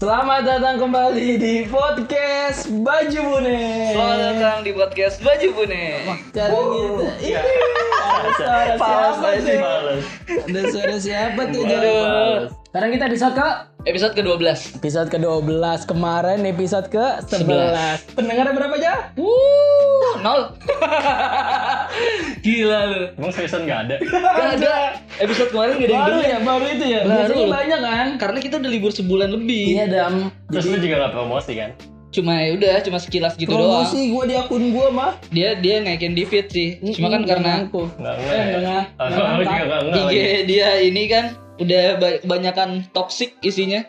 Selamat datang kembali di podcast Baju Bune. Selamat datang di podcast Baju Bune. Sekarang kita gitu. Ih, ada Oh, iya. suara Fals siapa aja. tuh? Males. Ada suara siapa tuh? Aduh. Jero? Sekarang kita episode ke Episode ke-12. episode ke-12 kemarin episode ke 11. Pendengarnya berapa aja? Wuh, Uh, nol. Gila lu. Emang seriusan nggak ada? Gak ada. Episode kemarin gak ada yang Baru denger. ya, baru itu ya. Baru. Biasanya banyak kan? Karena kita udah libur sebulan Iya, lebih. Dam. Terus lu juga nggak promosi kan? Cuma ya udah, cuma sekilas gitu doang. Promosi gua di akun gua mah. Dia dia naikin di feed sih. Cuma kan Mm-mm, karena aku. Nggak Eh, nggak. nggak nggak. Ah, Lu juga nggak nggak. IG lagi. dia ini kan udah ba- kebanyakan toxic isinya.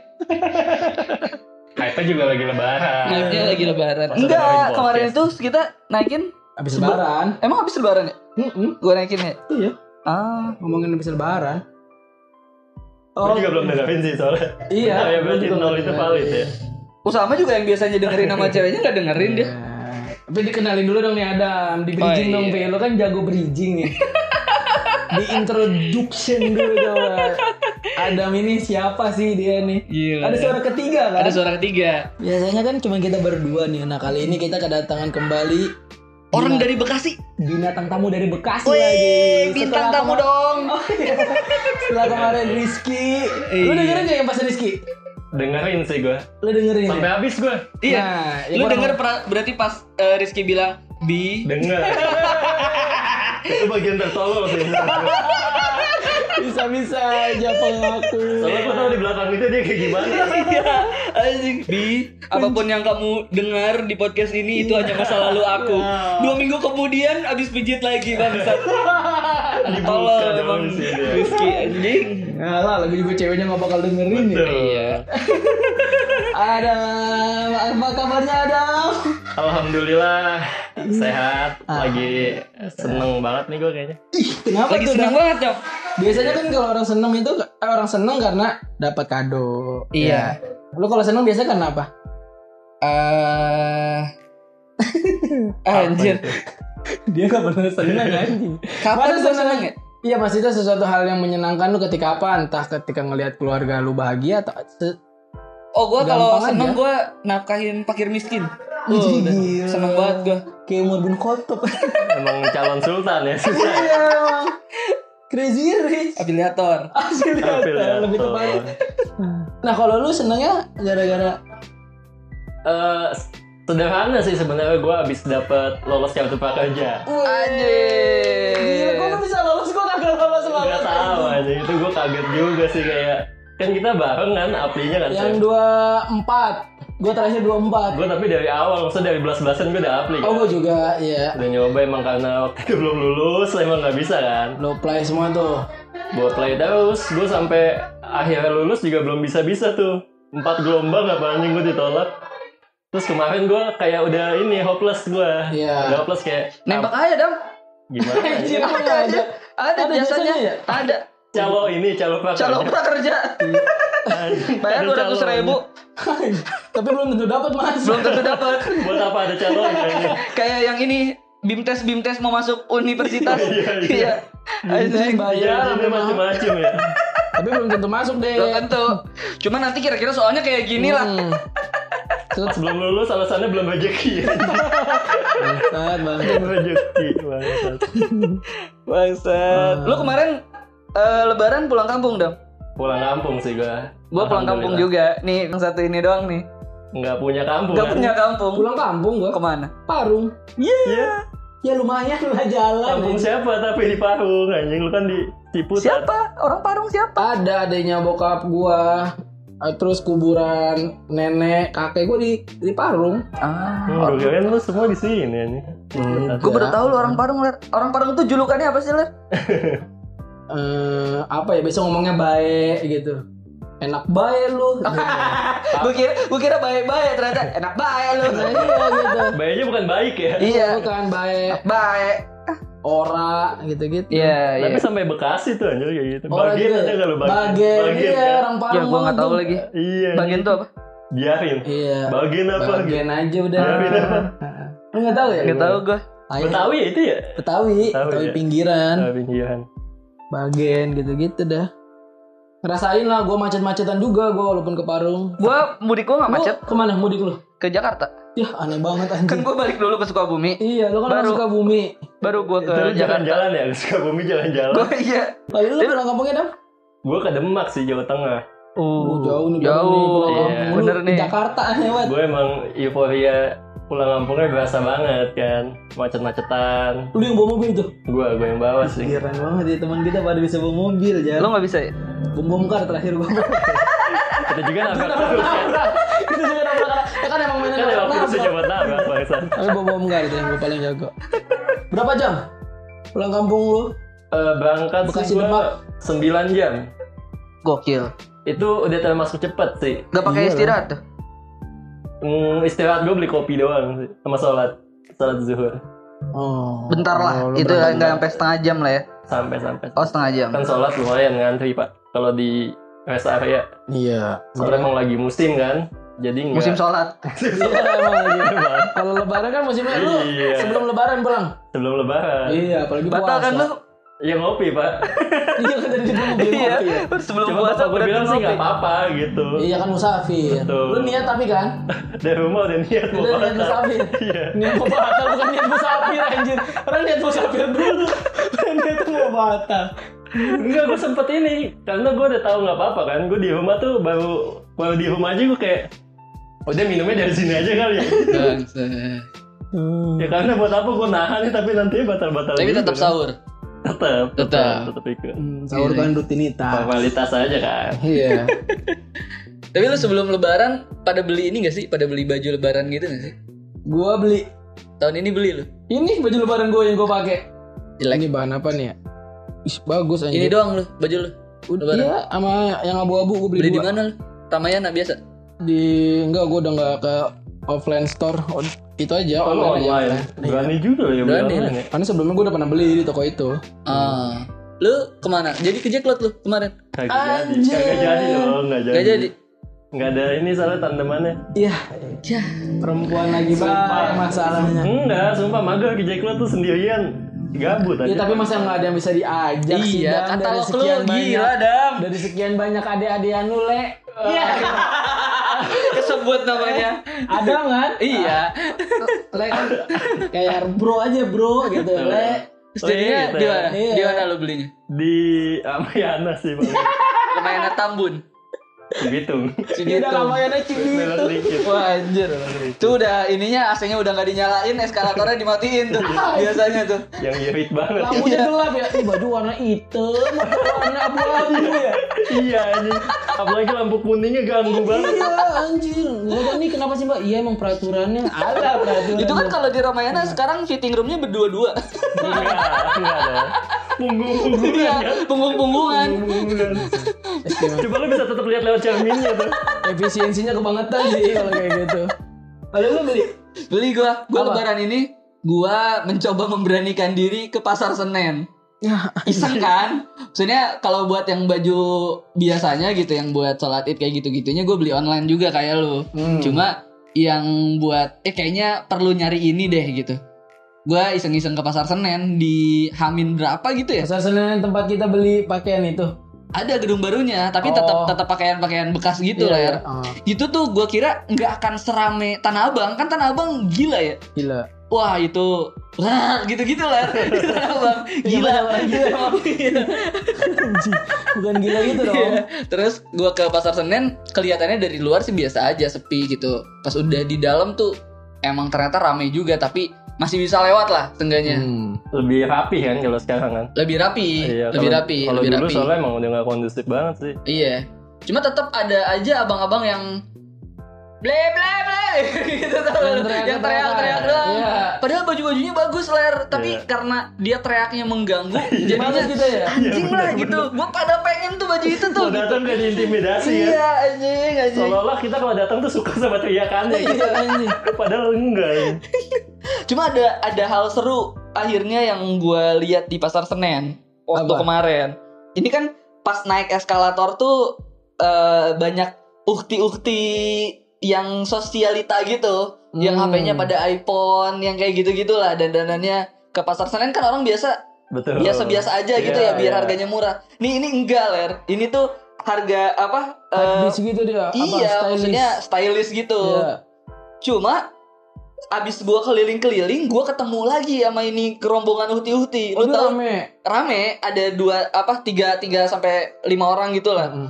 Hype-nya juga lagi lebaran. Naiknya lagi lebaran. Masa dengerin Enggak, podcast? kemarin itu kita naikin Abis lebaran. Emang habis lebaran ya? Mm-mm, Gue naikin ya? Iya. Ah, Ngomongin abis lebaran. Lu juga belum dengerin sih soalnya. Oh. Iya. Oh, ya berarti Gua juga nol itu dengerin. valid ya. Usama juga yang biasanya dengerin nama ceweknya nggak dengerin dia. Nah, Tapi dikenalin dulu dong nih Adam, di bridging Oh, dong, iya. Pe. Lo kan jago bridging ya. di introduction dulu dong. Adam ini siapa sih dia nih? Gila. Ada suara ketiga kan? Ada suara ketiga. Biasanya kan cuma kita berdua nih. Nah, kali ini kita kedatangan kembali Orang Iya. dari Bekasi. binatang tamu dari Bekasi Wih, lagi. bintang Iya, Setelah Nah, tamu kema- dong. Setelah kemarin Rizky. Lo Iya. dengerin gak yang pas Rizky? Dengerin sih gue. Lo dengerin Sampai ya? habis gue. Iya. Nah, ya Lu kurang- denger pra- berarti pas eh, Rizky bilang bi Denger. itu bagian tertolol sih. Bisa-bisa aja pengaku. Soalnya gue tau di belakang itu dia kayak gimana. Iya, anjing bi apapun yang kamu dengar di podcast ini itu Iya. hanya masa lalu aku. Dua minggu kemudian abis pijit lagi bangsat. Dibuka Tolong dong emang sih dia. Rizky anjing. Iya. Alah, lagi juga ceweknya gak bakal dengerin ya. Tuh. Adam, apa kabarnya Adam? Alhamdulillah Iya. sehat. Ah. Lagi seneng banget nih gue kayaknya. Ih, kenapa Lagi tuh seneng Dam? banget dong. Biasanya kan kalau orang seneng itu eh, orang seneng karena dapat kado. Iya. Ya. Lu kalau seneng biasanya karena apa? Eh anjir. Dia gak pernah seneng lagi. Kapan gua seneng ya? Iya maksudnya sesuatu hal yang menyenangkan lu ketika apa? Entah ketika ngelihat keluarga lu bahagia atau se- Oh gue Gampang kalau aja. seneng gue nafkahin fakir miskin. Ih, Oh, udah. gila. seneng banget gue. kayak Umar bin Khattab. Emang calon sultan ya. susah. Iya. emang. Crazy Rich. Afiliator. Afiliator lebih tepat. Nah kalau lu senengnya gara-gara Eh, sederhana sih sebenarnya gue abis dapet lolos kartu prakerja Gila, kok Anjir. lu bisa lolos? Gue kagak lolos nggak lolos. tahu aja itu gue kaget juga sih kayak kan kita bareng kan aplinya kan Yang dua empat, gue terakhir dua empat. gue tapi dari awal maksudnya dari belas belasan gue udah apli Oh kan gue juga, iya. udah nyoba emang karena waktu itu belum lulus emang nggak bisa kan Lo play semua tuh. buat play terus gue sampai akhirnya lulus juga belum bisa bisa tuh empat gelombang apa anjing gue ditolak terus kemarin gue kayak udah ini hopeless gue Iya. udah hopeless kayak Nembak aja dong. gimana ya? Anjir, apa nggak ada? Ada, Ada biasanya. biasanya ya? Ada. calo ini calo prakerja Calo prakerja. Bayar dua ratus ribu. Tapi belum tentu dapat mas. Belum tentu dapat. buat apa ada ya? Iya, calonnya Iya, ini? Kayak yang ini. Bimtes Bimtes mau masuk universitas. Iya, iya. Iya. Anjing. ya Bayar, ada macam-macam ya tapi belum tentu masuk deh. Belum tentu. Cuma nanti kira-kira soalnya kayak gini lah. Hmm. Set, sebelum lulus alasannya belum rezeki bangsat, bangsat. belum rezeki bangsat. Bangsat. Lu kemarin eh, lebaran pulang kampung dong? pulang kampung sih gua Gue pulang kampung juga. Nih yang satu ini doang nih. nggak punya kampung Gak kan? punya kampung. Pulang kampung gue ke Kemana? Parung. Iya. Ya lumayan lah jalan. kampung siapa tapi di Parung anjing lu kan di Ciputat Siapa? Orang Parung siapa? ada adanya bokap gua eh, terus kuburan nenek kakek gua di di Parung Ah. Hmm, gue kirain lu semua di sini anjing Ya. Gue Ya, baru tahu lu orang Parung, Ler. Orang Parung tuh julukannya apa sih, Ler? Eh, apa ya besok ngomongnya baik gitu enak baik lu gue kira gue kira baik-baik ternyata enak baik lu. Nah, iya gitu Bayinya bukan baik ya iya. bukan baik Baik. ora gitu gitu Iya, iya. tapi sampai Bekasi tuh anjir kayak gitu ora bagian aja kalau bagian Oh, iya. bagian, Bagian, iya kan? orang Ya Parung gue nggak banget tahu tuh. lagi. iya Bagian tuh apa? biarin iya bagian apa bagian aja udah Bagian apa? lu nggak tahu ya Gak tahu gue. Ayo. Betawi ya itu ya Betawi, Betawi Betawi ya? pinggiran, Betawi pinggiran bagian gitu-gitu dah. Ngerasain lah gue macet-macetan juga gue walaupun ke Parung. Gue mudik gue nggak Lu macet kemana mudik lu? ke Jakarta. Ya aneh banget Kan anjing. gue balik dulu ke Sukabumi, Iya, lu kan orang Baru- suka bumi. baru gue ke Itu lu Jakarta. jalan-jalan ya, suka bumi Gue jalan-jalan. iya. Lalu lu pernah kampungnya dam? Gue ke Demak sih, Jawa Tengah. Oh, jauh Uh, nih, jauh. pulang Iya, kampung. Lu bener nih. Jakarta aneh banget. Gue emang euforia pulang kampungnya berasa banget kan, macet-macetan. Lu yang bawa mobil tuh? Gue gue yang bawa sih. Keren banget ya teman kita pada bisa bawa mobil ya. Lo nggak bisa ya? Bom bom kar terakhir gua. Kita juga nabrak terus kan. Itu juga nabrak Ya kan emang mainan Kan emang nabrak. virusnya Jawa Tengah bangsa. Tapi bom bom kar itu yang gua paling jago. Berapa jam? Pulang kampung lu? Eh, berangkat Bekasi sih gue Demak. 9 jam. Gokil. Itu udah termasuk cepet sih. Gak Iya, pakai istirahat tuh. Hmm, istirahat gue beli kopi doang sih, sama sholat. Sholat zuhur. Oh. Bentar lah. itu lah, nggak sampai setengah jam lah ya. Sampai-sampai. Oh setengah jam. Kan sholat lumayan ngantri pak. Kalau di rest area. Iya. Soalnya emang lagi musim kan. Jadi Musim nggak sholat. Iya, emang lagi. Kalau lebaran kan musimnya lu Iya. sebelum lebaran pulang. sebelum lebaran. Iya, apalagi Batal puasa. kan lu? Ya ngopi pak. Iya kan dari dulu beli Iya. kopi ya. Sebelum Cuma puasa bapak gue udah bilang sih ngopi. nggak apa-apa gitu. Iya kan musafir. Betul. Lu niat tapi kan? Dari rumah udah niat mau Lu niat batal. musafir. Iya. Niat mau batal bukan niat musafir anjir. Orang niat musafir dulu. Orang niat mau batal. Enggak, gue sempet ini karena gue udah tahu nggak apa-apa kan. Gue di rumah tuh baru baru di rumah aja gue kayak udah minumnya dari sini aja kali ya. Hmm, ya karena buat apa gue nahan nih tapi nanti batal-batal. Tapi gitu tetap kan. sahur. Tetap, tetap, Tetap. tetap ikut. Hmm, sahur kan rutinitas. Formalitas aja kan. Iya. Tapi lu sebelum lebaran pada beli ini gak sih? Pada beli baju lebaran gitu gak sih? Gua beli Tahun ini beli lu. ini baju lebaran gue yang gue pakai. Jelek. Ini bahan apa nih ya? Ih, bagus Ini anjir. doang lu, baju lu. Udah lebaran. iya, sama yang abu-abu gue beli, Beli di dua. mana lu? Ramayana biasa. Di enggak gue udah enggak ke offline store. Oh, Itu aja Kalau online, aja. online, berani juga lo ya Berani berani. lah. online ya. Karena sebelumnya gue udah pernah beli di toko itu. Ah. Lu kemana? Jadi ke Jacklot lu kemarin? Kagak jadi, kagak jadi dong, nggak jadi. Gak jadi. Nggak ada ini salah tandemannya. Iya. Perempuan lagi banyak masalahnya. Enggak, sumpah mager ke Jack Lo tuh sendirian gabut Ya, aja. Iya tapi masa nggak ada yang bisa diajak sih Iya, Dam, dari katalog lu sekian banyak gila, Dam. dari sekian banyak adik-adian lu le. Iya. Kesebut namanya. ada kan? Iya. Le kan kayak bro aja bro gitu le. Terus Oh, jadinya iya, di mana? iya. Di mana lu belinya? di Amayana sih bang, Ramayana Tambun. di Bitung. Iya Segitu. namanya cili. Belok dikit. Wah anjir. Tuh udah ininya AC-nya udah nggak dinyalain, eskalatornya dimatiin tuh. Biasanya tuh. Yang irit banget. Lampunya gelap ya. Ih, baju warna hitam, warna abu-abu ya. iya anjing. Apalagi lampu kuningnya ganggu banget. Iya anjir. Gua nih kenapa sih Mbak? Iya emang peraturannya ada peraturan. Itu kan kalau di Ramayana sekarang fitting roomnya berdua-dua. Enggak, enggak dong. Punggung-punggungan ya. Iya, punggung-punggungan. Punggung-punggungan. Coba lu bisa tetap lihat lewat cerminnya tuh. Iya, efisiensinya kebangetan sih kalau kayak gitu. Lalu lu beli Beli gua, gua lebaran ini gua mencoba memberanikan diri ke pasar Senen. Iseng kan? Maksudnya kalau buat yang baju biasanya gitu yang buat sholat Id kayak gitu-gitunya gua beli online juga kayak lu. Cuma yang buat eh kayaknya perlu nyari ini deh gitu. Gua iseng-iseng ke pasar Senen di Hamin berapa gitu ya? Pasar Senen tempat kita beli pakaian itu. Ada gedung barunya, tapi tetap Oh. tetap pakaian-pakaian bekas gitu Iya, lah iya. ya. Ah, Itu tuh gua kira nggak akan serame Tanah Abang, kan Tanah Abang gila ya. gila. wah itu wah gitu-gitu lah Gitu lah, Bang. gila Iya. Anjing, Bukan gila gitu dong. terus gua ke pasar Senen kelihatannya dari luar sih biasa aja sepi gitu pas udah di dalam tuh emang ternyata ramai juga tapi masih bisa lewat lah tengganya Hmm. Lebih rapi kan kalau sekarang kan. lebih rapi Iya, lebih kalau- rapi Kalau lebih dulu rapi soalnya emang udah gak kondusif banget sih. iya cuma tetap ada aja abang-abang yang ble ble ble gitu tau Yang lu. teriak- yang teriak-teriak doang Iya. padahal baju-bajunya bagus ler tapi Iya. karena dia teriaknya mengganggu jadinya Gimana gitu ya? Iya, anjing lah gitu gue pada pengen tuh baju itu tuh gitu. Kalau datang kayak diintimidasi ya. Oh, iya anjing anjing Seolah-olah kita kalau datang tuh suka sama teriakannya gitu. Iya anjing. Padahal enggak. cuma ada ada hal seru akhirnya yang gue lihat di pasar senen waktu Apa? kemarin ini kan pas naik eskalator tuh eh, banyak ukti-ukti yang sosialita gitu yang Hmm. HP-nya pada iPhone yang kayak gitu gitulah dan danannya ke pasar senen kan orang biasa Betul. biasa-biasa aja gitu ya Iya, biar iya. harganya murah. Nih ini enggak ler, ini tuh harga apa? eh, Habis gitu dia apa iya, stylish. maksudnya stylish gitu. Iya. Cuma abis gua keliling-keliling, gua ketemu lagi sama ini kerombongan huti-huti. Oh, itu Lu tau rame. rame ada dua apa tiga tiga sampai lima orang gitu lah. Mm.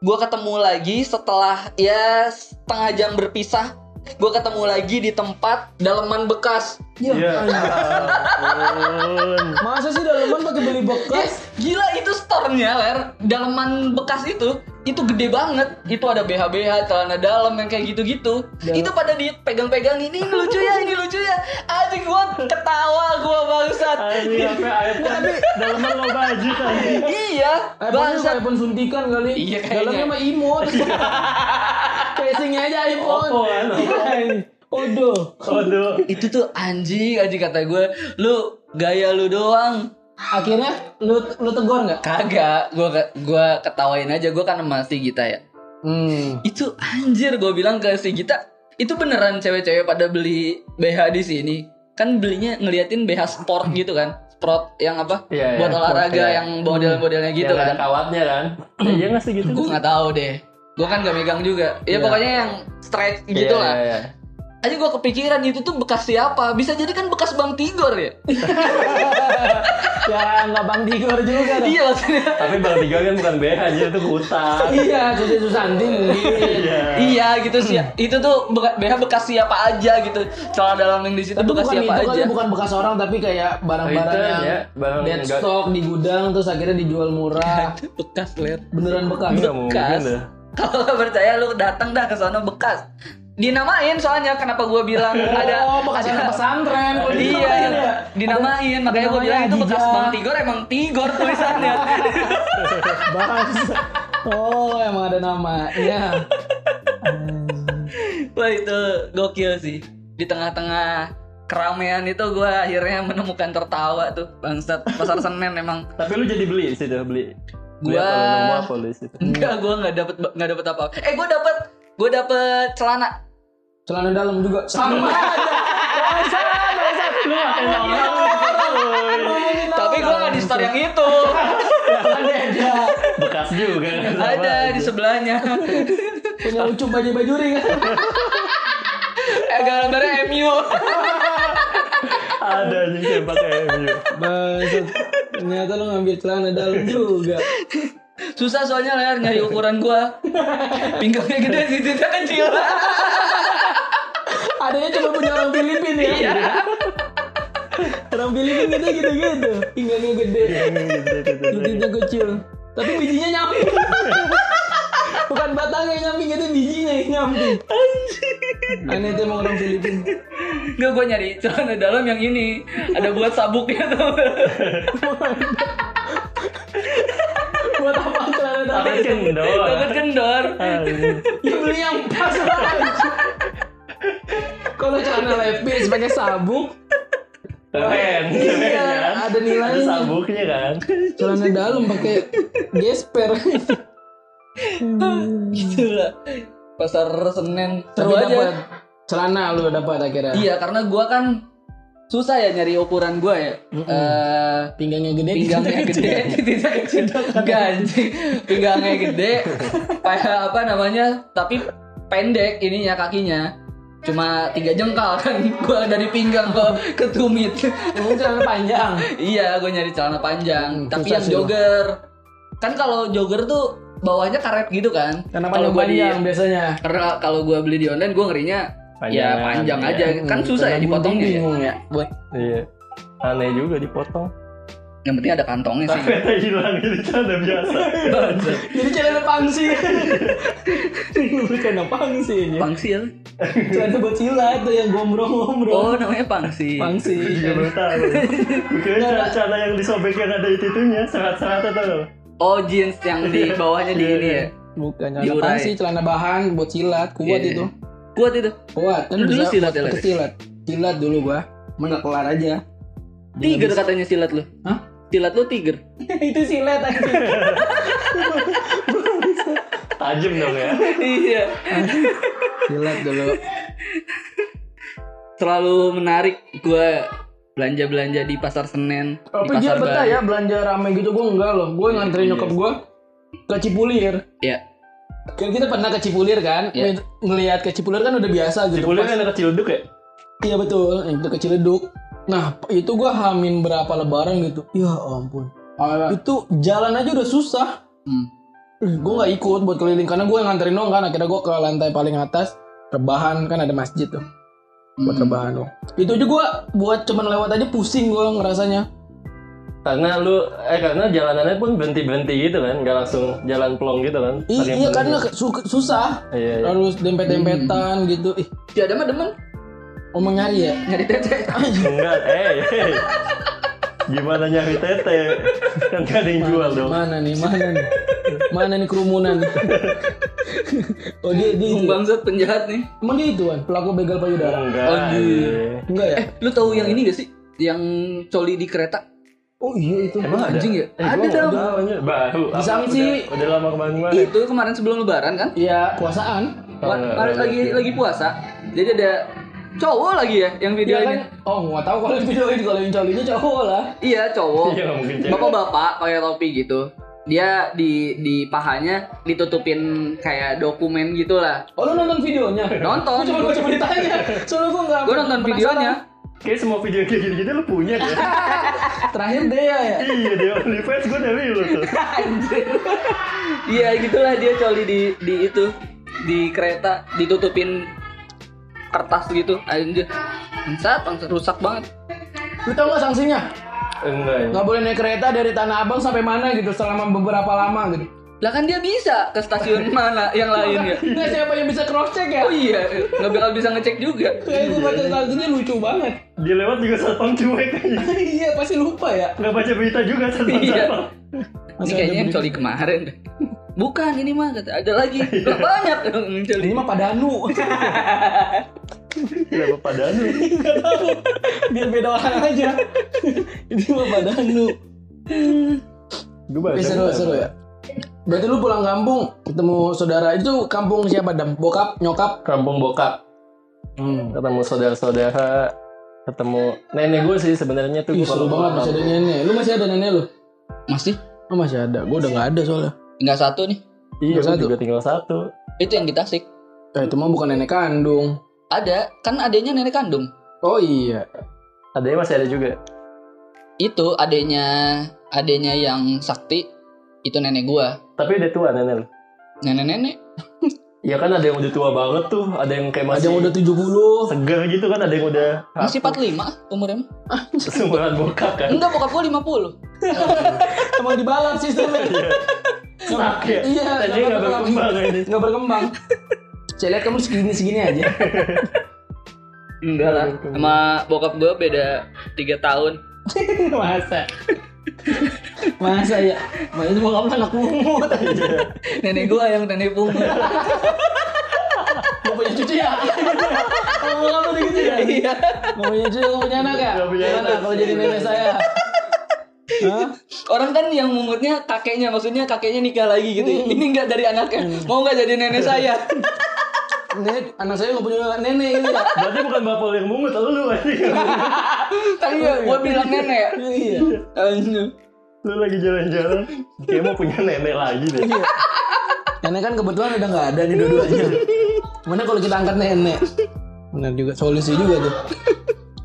Gua ketemu lagi setelah ya setengah jam berpisah. Gua ketemu lagi di tempat daleman bekas. Iya. Iya. ampun. Masa sih daleman pakai beli Eh, bekas? gila itu store-nya, Ler. Daleman bekas itu, itu gede banget. Itu ada BH-BH, celana dalam yang kayak gitu-gitu. Itu pada dipegang-pegang ini, ini lucu ya, ini lucu ya. Anjing gua ketawa gua bangsat. Anjing apa iPhone daleman lo baju tadi. iya, iPhone itu bangsat. iPhone Eh, suntikan kali. Iya, kayaknya. Dalamnya mah imut. Casingnya aja iPhone. Oppo kan, Oppo. Odo. Aduh. Itu tuh anjing, anjing kata gue. Lu gaya lu doang. Akhirnya lu lu tegur nggak? Kagak, gua ke- gua ketawain aja gua kan sama si Gita ya. Hmm. Itu anjir gua bilang ke si Gita, itu beneran cewek-cewek pada beli BH di sini. Kan belinya ngeliatin BH sport gitu kan. Sport yang apa? Iya, iya, buat sport, olahraga iya. yang model-modelnya gitu Yang ada kan. kawatnya kan. Eh, Iya nggak sih gitu? Gua nggak tahu deh. Gua kan gak megang juga. Ya Iya. pokoknya yang straight gitu lah. Iya, iya. Aja gua kepikiran itu tuh bekas siapa? Bisa jadi kan bekas Bang Tigor ya. Iya. Ya nggak bang Tigor juga. dong. iya maksudnya. Tapi Bang Tiga kan bukan BH, jadi itu hutang. Iya, Susi Susanti mungkin. Iya. Iya gitu sih. Itu tuh beka- BH bekas siapa aja gitu. Celana dalam yang di situ Tapi bekas bukan itu siapa aja. kali bukan bekas orang tapi kayak barang-barang Itu yang ya, barang dead enggak- stock di gudang terus akhirnya dijual murah. bekas ler. Beneran bekas. Nggak mungkin Bekas. dah. Kalau nggak percaya lu datang dah ke sana bekas. Dinamain soalnya kenapa gua bilang ada oh, bekas anak ada pesantren. Oh, gitu Iya, kan ya? dinamain. Makanya gua dinamain bilang itu bekas Adija. Bang Tigor emang Tigor tulisannya. Bahasa. Oh, emang ada Iya. namanya. Wah itu gokil sih. Di tengah-tengah keramaian itu gua akhirnya menemukan tertawa tuh bangsat pasar Senen emang Tapi lu jadi beli sih tuh beli. Beli Gua- apa lu nemu apa lu di situ? Enggak, gue nggak dapet nggak dapet apa. Eh, gue dapet gue dapet celana. Celana dalam juga sama Lu makin orang. Tapi gue nggak di store yang itu. beda. Bekas juga. Ada di sebelahnya. Punya ucup baju bajuri kan. Eh, gambarnya MU. Ada anjing sempak kayak MU. Bangsat. Ternyata lu ngambil celana dalam juga. Susah soalnya layar nyari ukuran gue. Pinggangnya gede, titiknya kecil. Adanya cuma punya orang Filipin ya. orang Filipin kita gitu-gitu. Pinggangnya gede, titiknya kecil. Tapi bijinya nyamping. Bukan batangnya yang nyamping, itu bijinya yang nyamping. Aneh tuh emang orang Filipin. Enggak, gue nyari celana dalam yang ini. Ada buat sabuknya tuh. Buat apa celana dalam? Tapi kendor. Takut kendor. Anjing. Ya beli yang pas lah. Kalau celana lepis pakai sabuk, Keren. keren Iya, kan? ada nilainya. Ada sabuknya kan. celana dalam pakai gesper. Gitu lah. Pasar Senen Tapi seru dapat aja. celana lu dapat akhirnya. Iya, karena gue kan susah ya nyari ukuran gue ya. Eh, Pinggangnya gede, pinggangnya gede titiknya kecil Enggak, anjing. pinggangnya gede kayak apa namanya tapi pendek ininya kakinya cuma tiga jengkal kan gua dari pinggang ke, ke tumit Mungkin celana panjang. iya gua nyari celana panjang Hmm, tapi susah yang sih, jogger kan kalau jogger tuh bawahnya karet gitu kan Karena kalau panjang gua di panjang biasanya. karena kalau gua beli di online gua ngerinya ya Panjang, panjang iya. aja kan susah ya Hmm, Karena dipotongnya ya. Bingung ya. Buat Iya. Aneh juga dipotong. yang penting ada kantongnya sih Ternyata hilang di canda biasa. Iya. Jadi celana pangsi. Bukan pangsi ini. pangsil Celana buat silat tuh yang gombrong-gombrong. ya. oh namanya pangsi Gue Pangsi. juga baru tahu. Gue kira cara yang disobek yang ada itu itunya serat-serat atau Oh jeans yang di bawahnya di ini ya. Bukan celana Diurai. pangsi, celana bahan buat silat, kuat Iya. itu. Kuat itu. Kuat. Kan Lu bisa dulu silat ya, pakai Lex? silat. Silat dulu gua. Mana kelar aja. Tiger katanya silat lu. Hah? Silat lu tiger. itu silat aja. tajam dong ya. iya. silat dulu. Terlalu menarik gua belanja-belanja di pasar Senen, di Tapi dia pasar betah Baru. ya belanja rame gitu gue enggak loh. Gue nganterin nyokap gue ke Cipulir. Iya. Kan kita pernah ke Cipulir kan? Iya. Ng- Ngelihat ke Cipulir kan udah biasa gitu. Cipulir Pas- kan anak Ciledug ya? Iya betul, itu ke Ciledug. Nah, itu gua hamin berapa lebaran gitu. Ya ampun. Itu jalan aja udah susah. Hmm. Eh, Gue nggak ikut buat keliling karena gue nganterin dong kan. Akhirnya gue ke lantai paling atas rebahan kan ada masjid tuh buat Hmm. rebahan dong. Itu aja gue buat cuman lewat aja pusing gue ngerasanya. Karena lu, eh karena jalanannya pun berhenti-berhenti gitu kan, nggak langsung jalan pelong gitu kan. Ih, Saking iya penuhnya. karena su- susah Iya, iya. harus dempet-dempetan gitu. Ih, Ya ada mah demen omong nyari ya. nyari tete. Enggak, eh, eh. Gimana nyari tete? Kan gak ada yang jual dong. Mana nih, mana nih? mana nih kerumunan? oh dia dia Bung bangsat penjahat nih. Emang dia itu kan pelaku begal payudara? Enggak. Oh, iya. iya. Enggak ya? Lu tahu yang ini gak sih? Yang coli di kereta? Oh iya itu. Emang ada? Anjing ya? Eh, Ada gua nggak dong. tahu, anjir. Baru. apa, Disangsi. Udah, udah lama kemarin-kemarin. Itu kemarin sebelum lebaran kan? Iya puasaan. Oh, Wa- enggak, kemarin enggak. lagi lagi puasa. Jadi ada cowok lagi ya yang Iya videonya. kan? Oh nggak tahu kalau videoin kalau yang colinya cowok lah. Iya cowok. Iya, nggak mungkin cewek. Bapak-bapak pakai topi gitu. Dia di di pahanya ditutupin kayak dokumen gitulah. Oh lu nonton videonya? Gua Nonton. cuma gua cuma ditanya. Soalnya gua nggak. Gue nonton videonya. Kayak semua video kayak gini-gini lu punya deh. penasaran. Terakhir Dea ya. iya, dia OnlyFans gue dari lu tuh. Anjir. Iya gitulah dia coli di di itu di kereta ditutupin kertas gitu anjir bangsat bangsat rusak banget Lu tau nggak sanksinya? Enggak. ya. Nggak boleh naik kereta dari Tanah Abang sampai mana gitu selama beberapa lama gitu. lah kan dia bisa ke stasiun mana yang lain ya Nggak siapa yang bisa cross check ya? oh iya nggak bakal bisa ngecek juga Kayak gua baca sanksinya lucu banget. Dia lewat juga satpam cuek aja. Iya pasti lupa ya. Nggak baca berita juga Iya. satpam-satpam. ini kayaknya yang coli kemarin deh. bukan ini mah kata ada lagi Lah, banyak dong yang coli Ini mah padanu. Kenapa padahal lu? Nggak tahu. Biar beda orang aja. Ini mah padanu. Gue baca. Tapi seru Bang. seru ya. Berarti lu pulang kampung ketemu saudara itu kampung siapa dam? Bokap, nyokap. Kampung Bokap. Hmm. Ketemu saudara-saudara. Ketemu nenek gue sih sebenarnya tuh. Ih, gua seru kalau banget pulang masih ada nenek. Lu masih ada nenek lu? masih Oh, masih ada. Gua udah nggak ada soalnya. tinggal satu nih kampung. Iya, gue Satu. juga tinggal satu. itu yang di Tasik Eh, itu mah bukan nenek kandung. ada kan adanya nenek kandung Oh iya. Adanya masih ada juga. itu adanya adanya yang sakti itu nenek gua Tapi udah tua nenek lu. nenek nenek Ya kan ada yang udah tua banget tuh, ada yang kayak Ada masih yang udah Iya. 70. segar gitu kan, ada yang udah Masih 45 ah, umurnya mah. sumuran bokap kan. Enggak, bokap gua 50. Emang dibalap sistemnya. Iya. Stuck ya. Iya, Tadinya nggak nggak berkembang ini. Nggak berkembang. Saya lihat kamu segini-segini aja. Enggak lah. Sama bokap gua beda 3 tahun. Masa. Masa ya? Masa itu bokap lu anak pungut. Nenek gua yang nenek pungut. Mau punya cucu ya? Mau bokap lu gitu ya? Iya. Mau punya cucu mau punya anak ya? Nggak punya Gimana anak. kalau jadi nenek saya? Hah? Orang kan yang mungutnya kakeknya, maksudnya kakeknya nikah lagi gitu. Ini enggak dari anaknya. Mau enggak jadi nenek saya? Nenek, anak saya nggak punya nenek gitu ya? Berarti bukan bapak lu yang mungut, lu aja. Tadi Kan gua, gua bilang nenek. Iya. Anjir. Lu lagi jalan-jalan, kayak mau punya nenek lagi deh. Nenek kan kebetulan udah nggak ada nih dua-duanya. Mana kalau kita angkat nenek? Benar juga solusi juga tuh.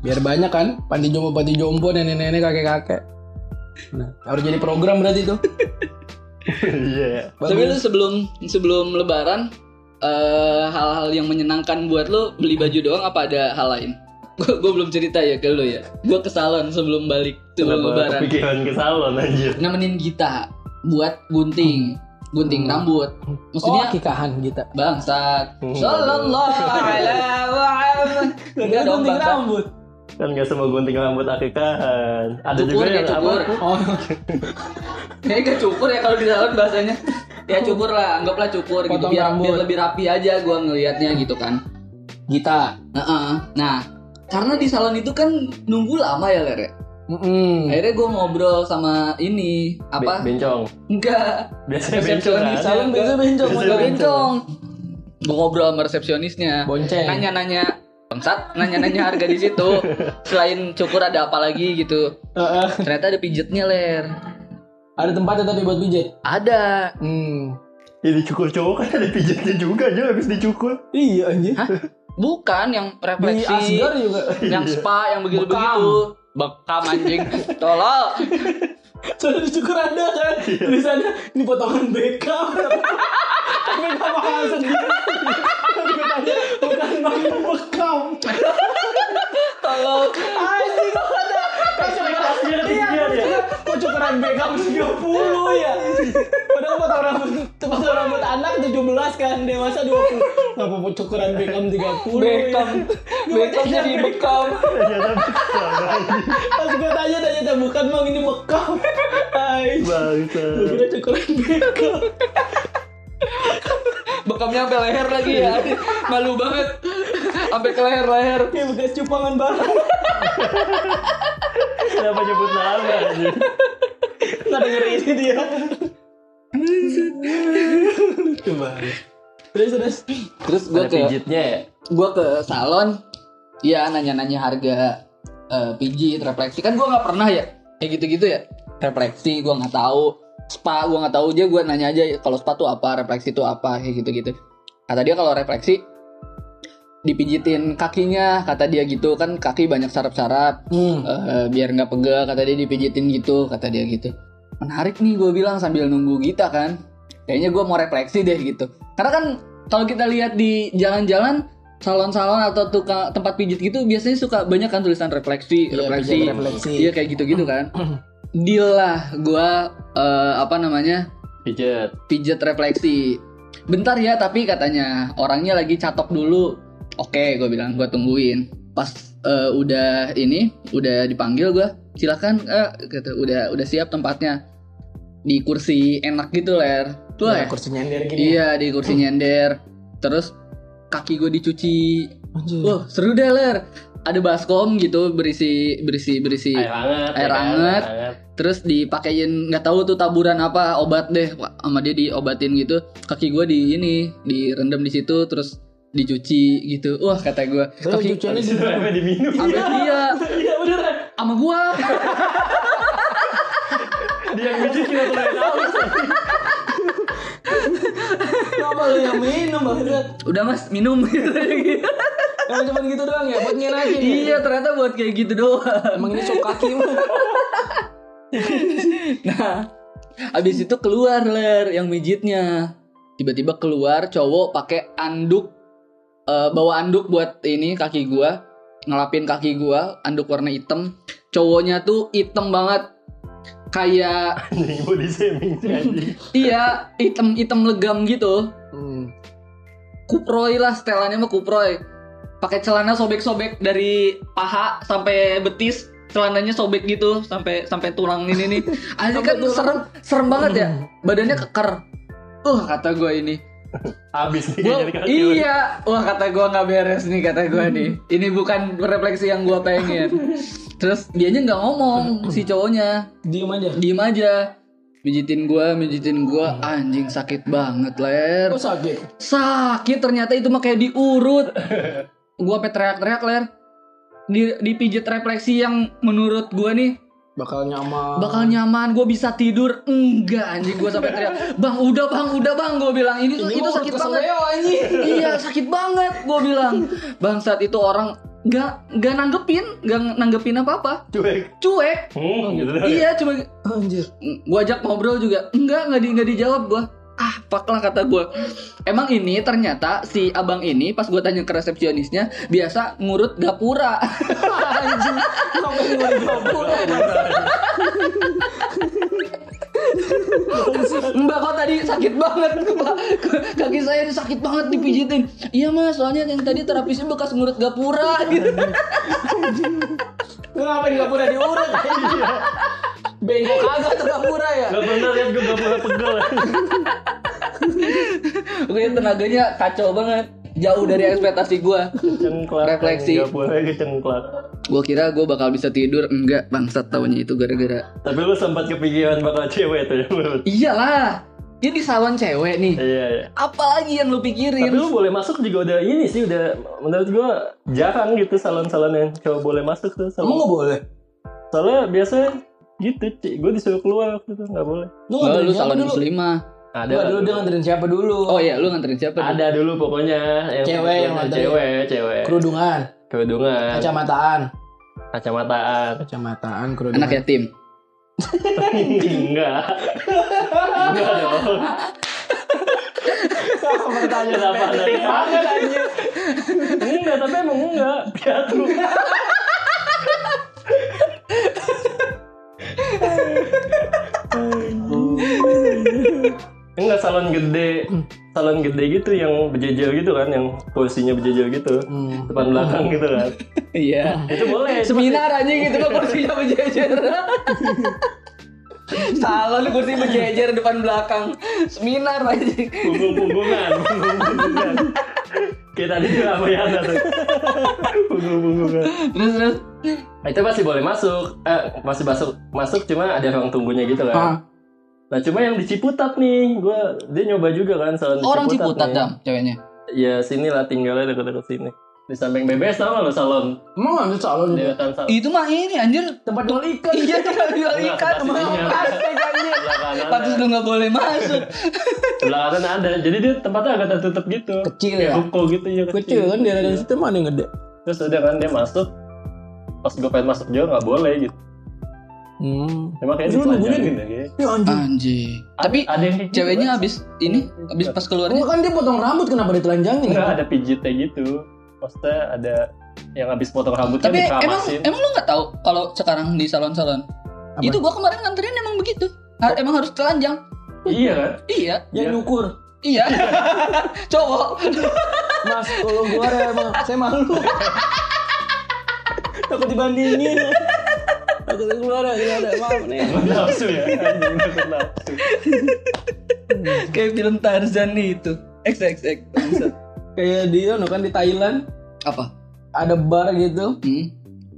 Biar banyak kan panti jompo panti jompo nenek-nenek kakek-kakek. Nah, harus jadi program berarti tuh. Iya. Tapi lu sebelum sebelum lebaran eh, hal-hal yang menyenangkan buat lu beli baju doang apa ada hal lain? Gua, gua belum cerita ya ke lu ya. Gua ke salon sebelum balik sebelum lebaran. Kenapa kepikiran ke salon anjir? nemenin Gita buat gunting Hmm. gunting rambut Oh, maksudnya kikahan kita. bangsat Hmm. sallallahu alaihi wasallam enggak dong Gunting bangsat rambut. Kan gak semua gunting rambut akikahan. Ada cukur juga ya yang cukur apa? Oh, kayaknya gak cukur ya kalau di salon bahasanya ya cukur lah anggaplah cukur gitu Potong biar, rambut. biar lebih rapi aja gua ngelihatnya gitu kan kita. Heeh. nah karena di salon itu kan nunggu lama ya lere Mm-mm. akhirnya gua ngobrol sama ini Be- apa Bencong. enggak Biasanya bencong Resepsionis kan. Salon biasa bencong. Biasa model. bencong gua ngobrol sama resepsionisnya Bonceng. nanya-nanya bangsat nanya-nanya harga di situ selain cukur ada apa lagi gitu Heeh. ternyata ada pijetnya ler Ada tempatnya tapi buat pijat. Ada. Hmm. Ya dicukur cowok kan ada pijatnya juga aja habis dicukur. Iya anjir. Hah? Bukan yang Di refleksi, Asgar juga. yang Iya. spa, yang begitu-begitu. Bekam anjing. Tolol. Soalnya dicukur ada kan. Tulisannya ini potongan Beckham. Tapi gak mahal sendiri. Katanya bukan bang Beckham. Tolol. Anjir kok ada. Iya, Ekspektasinya ketinggian ya. Kok cukuran Beckham 30 ya. Padahal potong rambut potong rambut anak 17 kan dewasa 20. Enggak apa-apa cukuran Beckham 30. Bekam. Bekam jadi bekam. Ternyata bisa lagi. Pas gue tanya tanya tanya bukan bang ini bekam. Hai. Bangsa. Gue ya. kira cukuran Beckham. Bekamnya sampai leher lagi ya. Malu banget. Sampai ke leher-leher. Kayak bekas cupangan barang. Kenapa nyebut nama anjir? Nggak dengerin ini dia. Lucu banget. Terus terus. Terus gue Ada ke pijitnya ya. gue ke salon ya nanya-nanya harga eh, pijit refleksi kan gue nggak pernah ya kayak gitu-gitu ya refleksi gue nggak tahu spa gue nggak tahu aja gue nanya aja kalau spa tuh apa refleksi tuh apa kayak gitu-gitu kata dia kalau refleksi dipijitin kakinya kata dia gitu kan kaki banyak sarap-sarap Hmm. eh, biar nggak pegel kata dia dipijitin gitu kata dia gitu menarik nih gue bilang sambil nunggu Gita kan kayaknya gue mau refleksi deh gitu karena kan kalau kita lihat di jalan-jalan salon-salon atau tukang tempat pijit gitu biasanya suka banyak kan tulisan refleksi Iya, refleksi pijat refleksi. iya kayak gitu-gitu kan deal lah gue eh, apa namanya Pijat. pijat refleksi bentar ya tapi katanya orangnya lagi catok dulu oke gue bilang gue tungguin pas eh, udah ini udah dipanggil gue silakan eh, kata, udah udah siap tempatnya di kursi enak gitu ler tuh Nah, ya kursi nyender gini. iya di kursi nyender terus kaki gue dicuci Anjir. wah seru deh ler ada baskom gitu berisi berisi berisi Air hangat. Iya. Air ya kan? hangat. terus dipakein nggak tahu tuh taburan apa obat deh Wah, sama dia diobatin gitu kaki gue di ini direndam di situ terus dicuci gitu wah kata gue Terus kaki cuciannya Itu gimana? apa diminum? sama dia Iya beneran. sama gue Dia yang pijitin atau yang haus? Kenapa lu yang minum banget? udah mas minum gitu Emang cuma gitu doang ya? Buat ngenakin ya? iya ternyata buat kayak gitu doang Emang ini sok kaki mah. nah abis itu keluar ler yang mijitnya tiba-tiba keluar cowok pakai anduk eh, bawa anduk buat ini kaki gue ngelapin kaki gue anduk warna hitam cowoknya tuh hitam banget kayak Anjing body shaming sih anjing. Iya, item-item legam gitu. Kuproy lah setelannya mah kuproy. Pakai celana sobek-sobek dari paha sampai betis, celananya sobek gitu sampai sampai tulang ini nih. Anjir kan serem, serem banget ya. Badannya keker. Uh, kata gue ini. Habis nih Gua- jadi kaki. iya, wah kata gue nggak beres nih kata gue nih. Ini bukan refleksi yang gue pengen. Terus dianya nggak ngomong si cowoknya Diem aja. diem aja mijitin gua mijitin gua anjing sakit banget ler Kok sakit? sakit ternyata itu mah kayak diurut gua sampai teriak-teriak ler di dipijit refleksi yang menurut gua nih Bakal nyaman. bakal nyaman gua bisa tidur enggak anjing gua sampai teriak bang udah bang udah bang gua bilang ini, Ini itu mah sakit urut banget keseleo, anjing. iya sakit banget gua bilang bang saat itu orang gak gak nanggepin gak nanggepin apa apa Cuek. cuek Hmm, gitu doang ya. iya cuma Anjir. gue ajak ngobrol juga enggak nggak di nggak dijawab gue ah fuck lah kata gue emang ini ternyata si abang ini pas gue tanya ke resepsionisnya biasa ngurut gapura Anjing. Kenapa ini lagi gabung? mbak kok tadi sakit banget Mbak. kaki saya ini sakit banget dipijitin iya mas soalnya yang tadi terapisnya bekas ngurut gapura gitu Kenapa di Gapura diurut? Bengkok kagak tuh Gapura ya? Gak pernah liat gue gak pernah pegel anjing. gue tenaganya kacau banget jauh dari ekspektasi gue Cengklak Refleksi. Gak boleh cengklak gue kira gue bakal bisa tidur enggak bangsat tahunya itu gara-gara Tapi lu sempat kepikiran bakal cewek tuh ya menurut iyalah dia di salon cewek nih Iya iya apalagi yang lu pikirin Tapi lu boleh masuk juga udah ini sih udah menurut gua jarang gitu salon-salon yang cowok boleh masuk tuh Emang salon. nggak boleh? Soalnya biasanya gitu cik gue disuruh keluar waktu itu nggak boleh Lu Oh, nganterin lu siapa calon dulu? muslimah. ada Enggak lah dulu dia dulu. nganterin siapa dulu? Oh iya, lu nganterin siapa? dulu? ada dulu pokoknya yang Cewek yang pokoknya nganterin. cewek cewek iya. Kerudungan, kerudungan kacamataan, kacamataan kacamataan, Anak ya, ya? kerudungan. yatim. enggak enggak dong Pertanyaan Kenapa pendek tadi? banget anjir. enggak tapi emang enggak piatu enggak salon gede salon gede gitu yang berjejer gitu kan yang posisinya berjejer gitu Hmm. depan belakang gitu kan Iya. itu boleh itu Seminar aja gitu kok kursinya berjejer. Salon kursi berjejer depan belakang. Seminar aja. punggung-punggungan punggung-punggungan kayak tadi tuh apa ya ada tuh punggung-punggungan Nah, Terus terus. itu masih boleh masuk eh masih masuk masuk cuma ada ruang tunggunya gitu kan Ah. Nah cuma yang di Ciputat nih, gua dia nyoba juga kan salon di Orang Ciputat nih. dam ceweknya. Ya sini lah tinggalnya dekat-dekat sini. Di samping BBS sama lo salon, Emang ngambil calon di dia. dekat salon. Itu mah ini anjir. Tempat jual ikan. Iya tuh kalau jual Enggak, ikan tempat mau ininya. plastik anjir. Belakangan Pantes ada- lu nggak boleh masuk. belakangan ada, jadi dia tempatnya agak tertutup gitu. Kecil Kayak ya. ruko gitu ya Kecil kan daerah dari situ mana yang gede? Terus udah kan dia masuk, pas gue pengen masuk juga nggak boleh gitu. Hmm. Emang kayaknya Lu nungguin? dipelajarin ya. kayaknya. Ya anjir. Anjir. Tapi ada yang kayak gitu, ceweknya kan? abis ini abis pas keluarnya Enggak kan dia potong rambut kenapa ditelanjangin? Enggak Ah. ada pijitnya gitu. Maksudnya ada yang habis potong rambutnya tapi emang dikeramasin. emang lu nggak tahu kalau sekarang di salon-salon Apa? itu gua kemarin nganterin emang begitu Ha- emang harus telanjang Iya kan? iya Ya Iya. nyukur. iya cowok Mas, kalau gua emang saya malu. Takut dibandingin. Takut keluar ya, keluar ya. Maaf nih. Nafsu ya, anjing takut nafsu. kayak film Tarzan nih itu X X X Bangsat. Kayak di anu kan di Thailand apa ada bar gitu. hmm?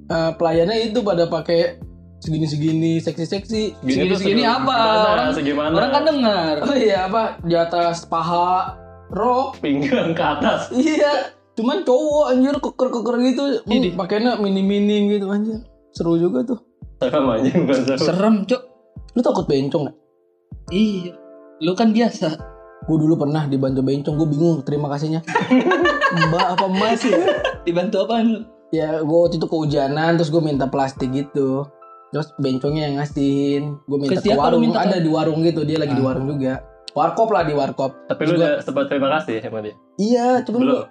Eh, pelayannya itu pada pakai segini-segini seksi-seksi. segini segini tuh apa segimana, orang segimana? orang kan dengar Oh iya apa di atas paha rok. pinggang ke atas. Iya. Cuman cowok anjir keker-keker gitu. Hmm, pakainya mini-mini gitu anjir. Seru juga tuh. Serem aja bukan serem. serem cok Lu takut bencong gak? iya lu kan biasa Gue dulu pernah dibantu bencong, gue bingung terima kasihnya. Mbak apa mas ya? dibantu apaan lu Ya gue waktu itu kehujanan, terus gue minta plastik gitu. Terus bencongnya yang ngasihin, gue minta ke Ke siapa lu warung, minta Ah. ada di warung gitu, dia lagi di warung juga. Warkop lah di warkop. Tapi lu udah sempat terima kasih sama dia? Iya, cuman Belum. gua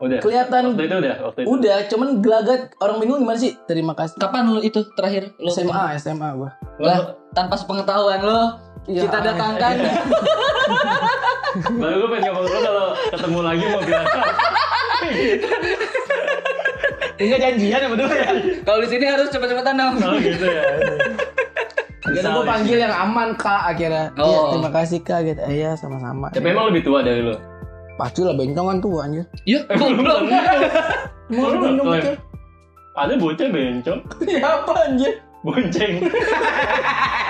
Udah. kelihatan Waktu itu udah, waktu itu. udah, cuman gelagat orang bingung gimana sih? Terima kasih. kapan lu itu terakhir lu SMA, SMA gue. lah tanpa sepengetahuan lu Iya. kita datangkan Baru gue pengen ngomong lu kalau ketemu lagi mau bilang Enggak janjian ya betul ya. kalau di sini harus cepet-cepetan dong kalau gitu ya. Akhirnya gue Ya, panggil yang aman kak akhirnya. Iya, Oh. terima kasih kak gitu. Iya sama-sama. Tapi emang lebih tua dari lu. Pasti lah bencong kan tuh anjir. Iya, Eh, goblok. Mau Lu bencong nggak kecil. klaim. Ada bocah bencong, Ya apa anjir? bonceng,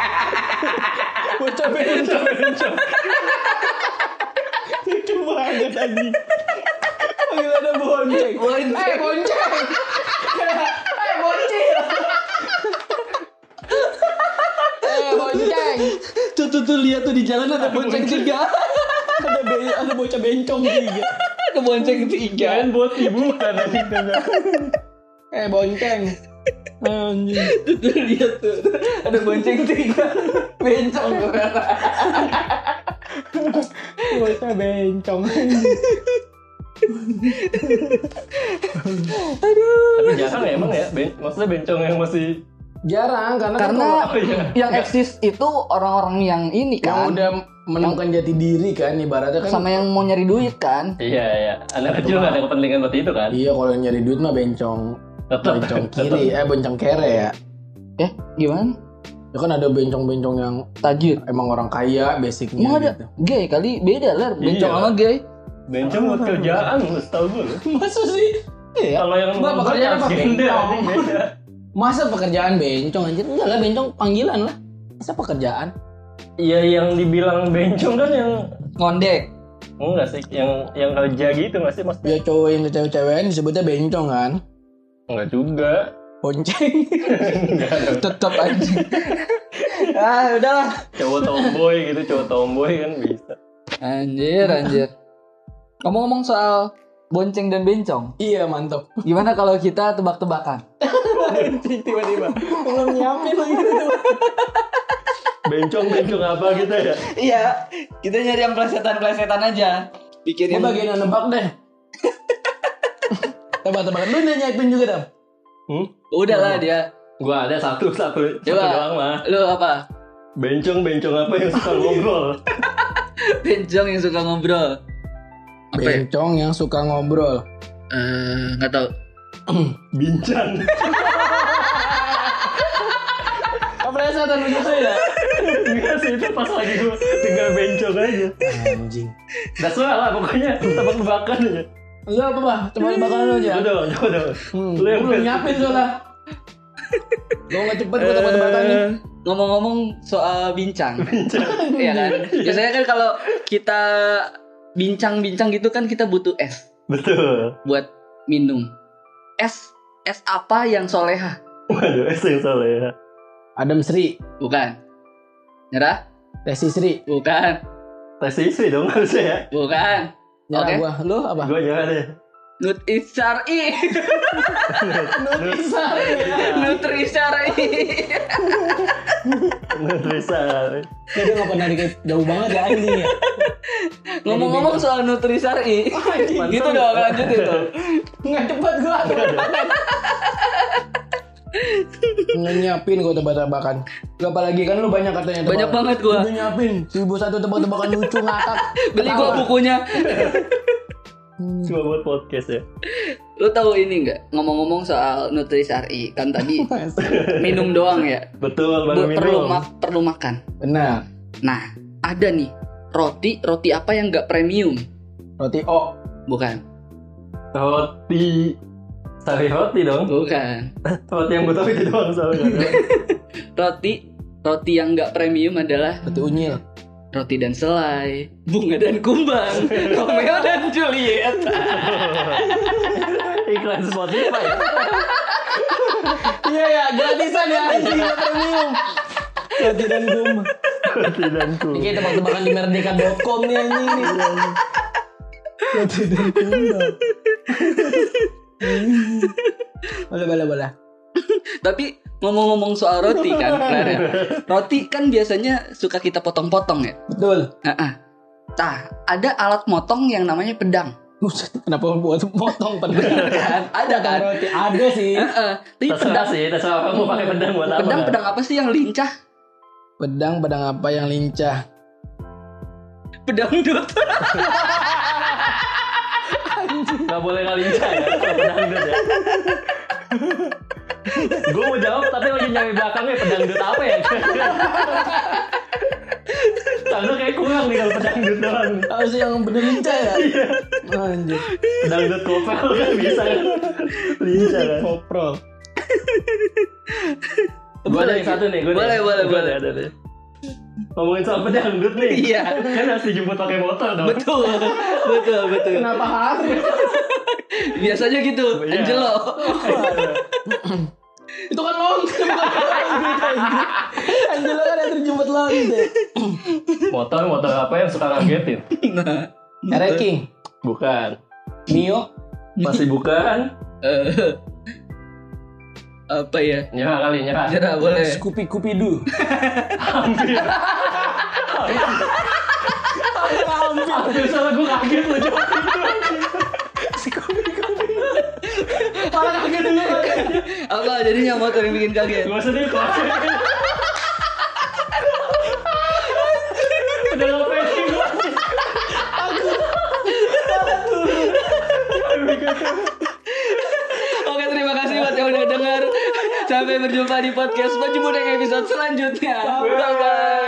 Bocah bencong. Lucu banget anjing. Panggil ada bonceng. Bonceng. Eh bonceng. Eh bonceng. Eh bonceng. Tuh tuh tuh lihat tuh di jalan ada bonceng tiga. Ada be- ada bocah bencong tiga. ada bonceng tiga. jangan buat ibu kan anjing Eh bonceng. Anjing. Tuh tuh lihat tuh. Ada bonceng tiga. Bencong gue kata. Bocah bencong. Tapi jarang ya emang ya, ben- maksudnya bencong yang masih Jarang karena kan Karena kalau- oh iya. yang eksis itu orang-orang yang ini yang kan. udah menemukan jati diri kan ibaratnya kan sama yang mau nyari duit kan. Iya iya, anak kecil nggak ada kepentingan buat itu kan? Iya kalau yang nyari duit mah bencong Tetap bencong kiri eh bencong kere ya. Eh, gimana? Ya kan ada bencong-bencong yang Tajir. emang orang kaya basicnya Emang ada gitu. gay kali beda lah bencong Iya. sama gay. Bencong buat kerjaan, setahu gue. lu. Masa sih? Iya. Kalau yang Mbak, pekerjaan apa? transgender, Bencong. ini beda. Masa pekerjaan bencong anjir? Enggak lah bencong panggilan lah. Masa pekerjaan? Iya yang dibilang bencong kan yang Ngondek. enggak sih, yang yang kerja gitu nggak sih mas? Ya cowok yang cewek-cewekan disebutnya bencong kan? Enggak juga. Bonceng. Iya. Tetap anjing. ah udahlah cowok tomboy gitu cowok tomboy kan bisa anjir anjir ngomong-ngomong soal bonceng dan bencong Iya mantap. gimana kalau kita tebak-tebakan Anjing tiba-tiba. Belum nyiapin lagi gitu. bencong bencong apa gitu ya iya kita nyari yang plesetan-plesetan aja Ini pikirin bagian yang nebak deh. Tebak-tebakan. Lu udah nyiapin juga dong. hmm? udah lah dia gua ada satu satu satu Coba. doang mah lu apa bencong bencong apa yang suka ngobrol bencong yang suka ngobrol apa ya? Bencong yang suka ngobrol. Eh, nggak tahu bincang Apa setan begitu ya? Enggak sih itu pas lagi gua tinggal bencong aja Anjing. Nah soal lah pokoknya tebak-tebakan aja Lu apa, Bah? Tebak-tebakan lu aja. Coba dong, coba dong Hmm, Lu gua yang belum best. nyiapin soalnya. Lu nggak cepet gua tebak-tebakan nih. Eh. ngomong-ngomong soal bincang Iya kan biasanya kan kalau kita bincang-bincang gitu kan kita butuh es Betul buat minum es es apa yang soleha Waduh, es yang salah ya Adam Sri, bukan nyerah Resi Sri, bukan Tes istri dong harusnya ya bukan nyala Oke. gua. Lu apa? Gua nyerah deh Nutri Syari Nutrisar. Iya. Nutri Syari Nutrisa Dia nggak pernah dikit jauh banget ya anjing ya. Ngomong-ngomong soal Nutri Syari Gitu dong lanjut itu Nggak cepet gua. Nggak nyiapin gua tebak-tebakan. Lu apalagi kan lu banyak katanya Banyak tebakan. banget gua. Lu nyiapin 1001 tebak-tebakan lucu ngakak. Beli gua Ketawa. Hmm. bukunya Cuma buat podcast ya Lu tahu ini nggak? Ngomong-ngomong soal Nutri Syari Kan tadi minum doang ya Betul, baru Bu- perlu, minum ma- perlu makan Benar. Nah ada nih Roti, roti apa yang nggak premium? Roti O. Bukan, Roti Sari roti dong bukan. Roti yang gue tau itu doang soalnya Roti, roti yang nggak premium adalah Roti unyil. roti dan selai, bunga dan kumbang, Romeo dan Juliet. Iklan Spotify ya Iya ya, gratisan ya anjing nggak premium. Roti dan gum. Roti dan ku Ini kayak tebak-tebakan di merdeka.com nih anjing nih. Iya, Roti dan kumbang. Boleh, boleh, boleh. Tapi ngomong-ngomong soal roti kan, Clara, roti kan biasanya suka kita potong-potong ya. Betul. Heeh. Nah, ada alat motong yang namanya pedang. Buset, kenapa buat motong pedang? Kan? Ada Potong kan? roti. Ada sih. Heeh. Tapi Terserah pedang, sih, terserah kamu pakai pedang buat apa pedang, pedang apa sih yang lincah? Pedang pedang apa yang lincah? Pedang dut. Gak boleh ngalinca ya, kalau pedang dut ya. Gue mau jawab tapi lagi nyari belakangnya pedang dut apa ya? Tangga kayak kurang nih kalau pedang dut doang. Harus yang bener lincah ya? Anjir. Pedang dut kopel kan bisa kan? Linca kan? Koprol. Gue ada yang satu nih, gue Boleh, boleh, boleh. Ada, ada. Ngomongin soal pedang dut nih. Iya. Kan harus dijemput pakai motor dong. Betul. betul, betul. Kenapa harus? Biasanya gitu, Iya. Angelo. Itu kan lonte bukan anjing. Anjing kan yang terjemput lonte. Motor, motor apa yang suka ngagetin? Nah. Reking. Bukan. Mio. Masih bukan. Eh, apa ya? Nyerah kali, nyerah. Nyerah boleh. Scoopy Cupidu. Hampir. Hampir salah gue kaget loh jawab Orang kaget dulu. Apa jadinya motor yang bikin kaget? Gue sedih kok Udah gak pengen gue Oke terima kasih buat yang udah dengar. Sampai berjumpa di podcast Baju Bodeng episode selanjutnya. Bye bye.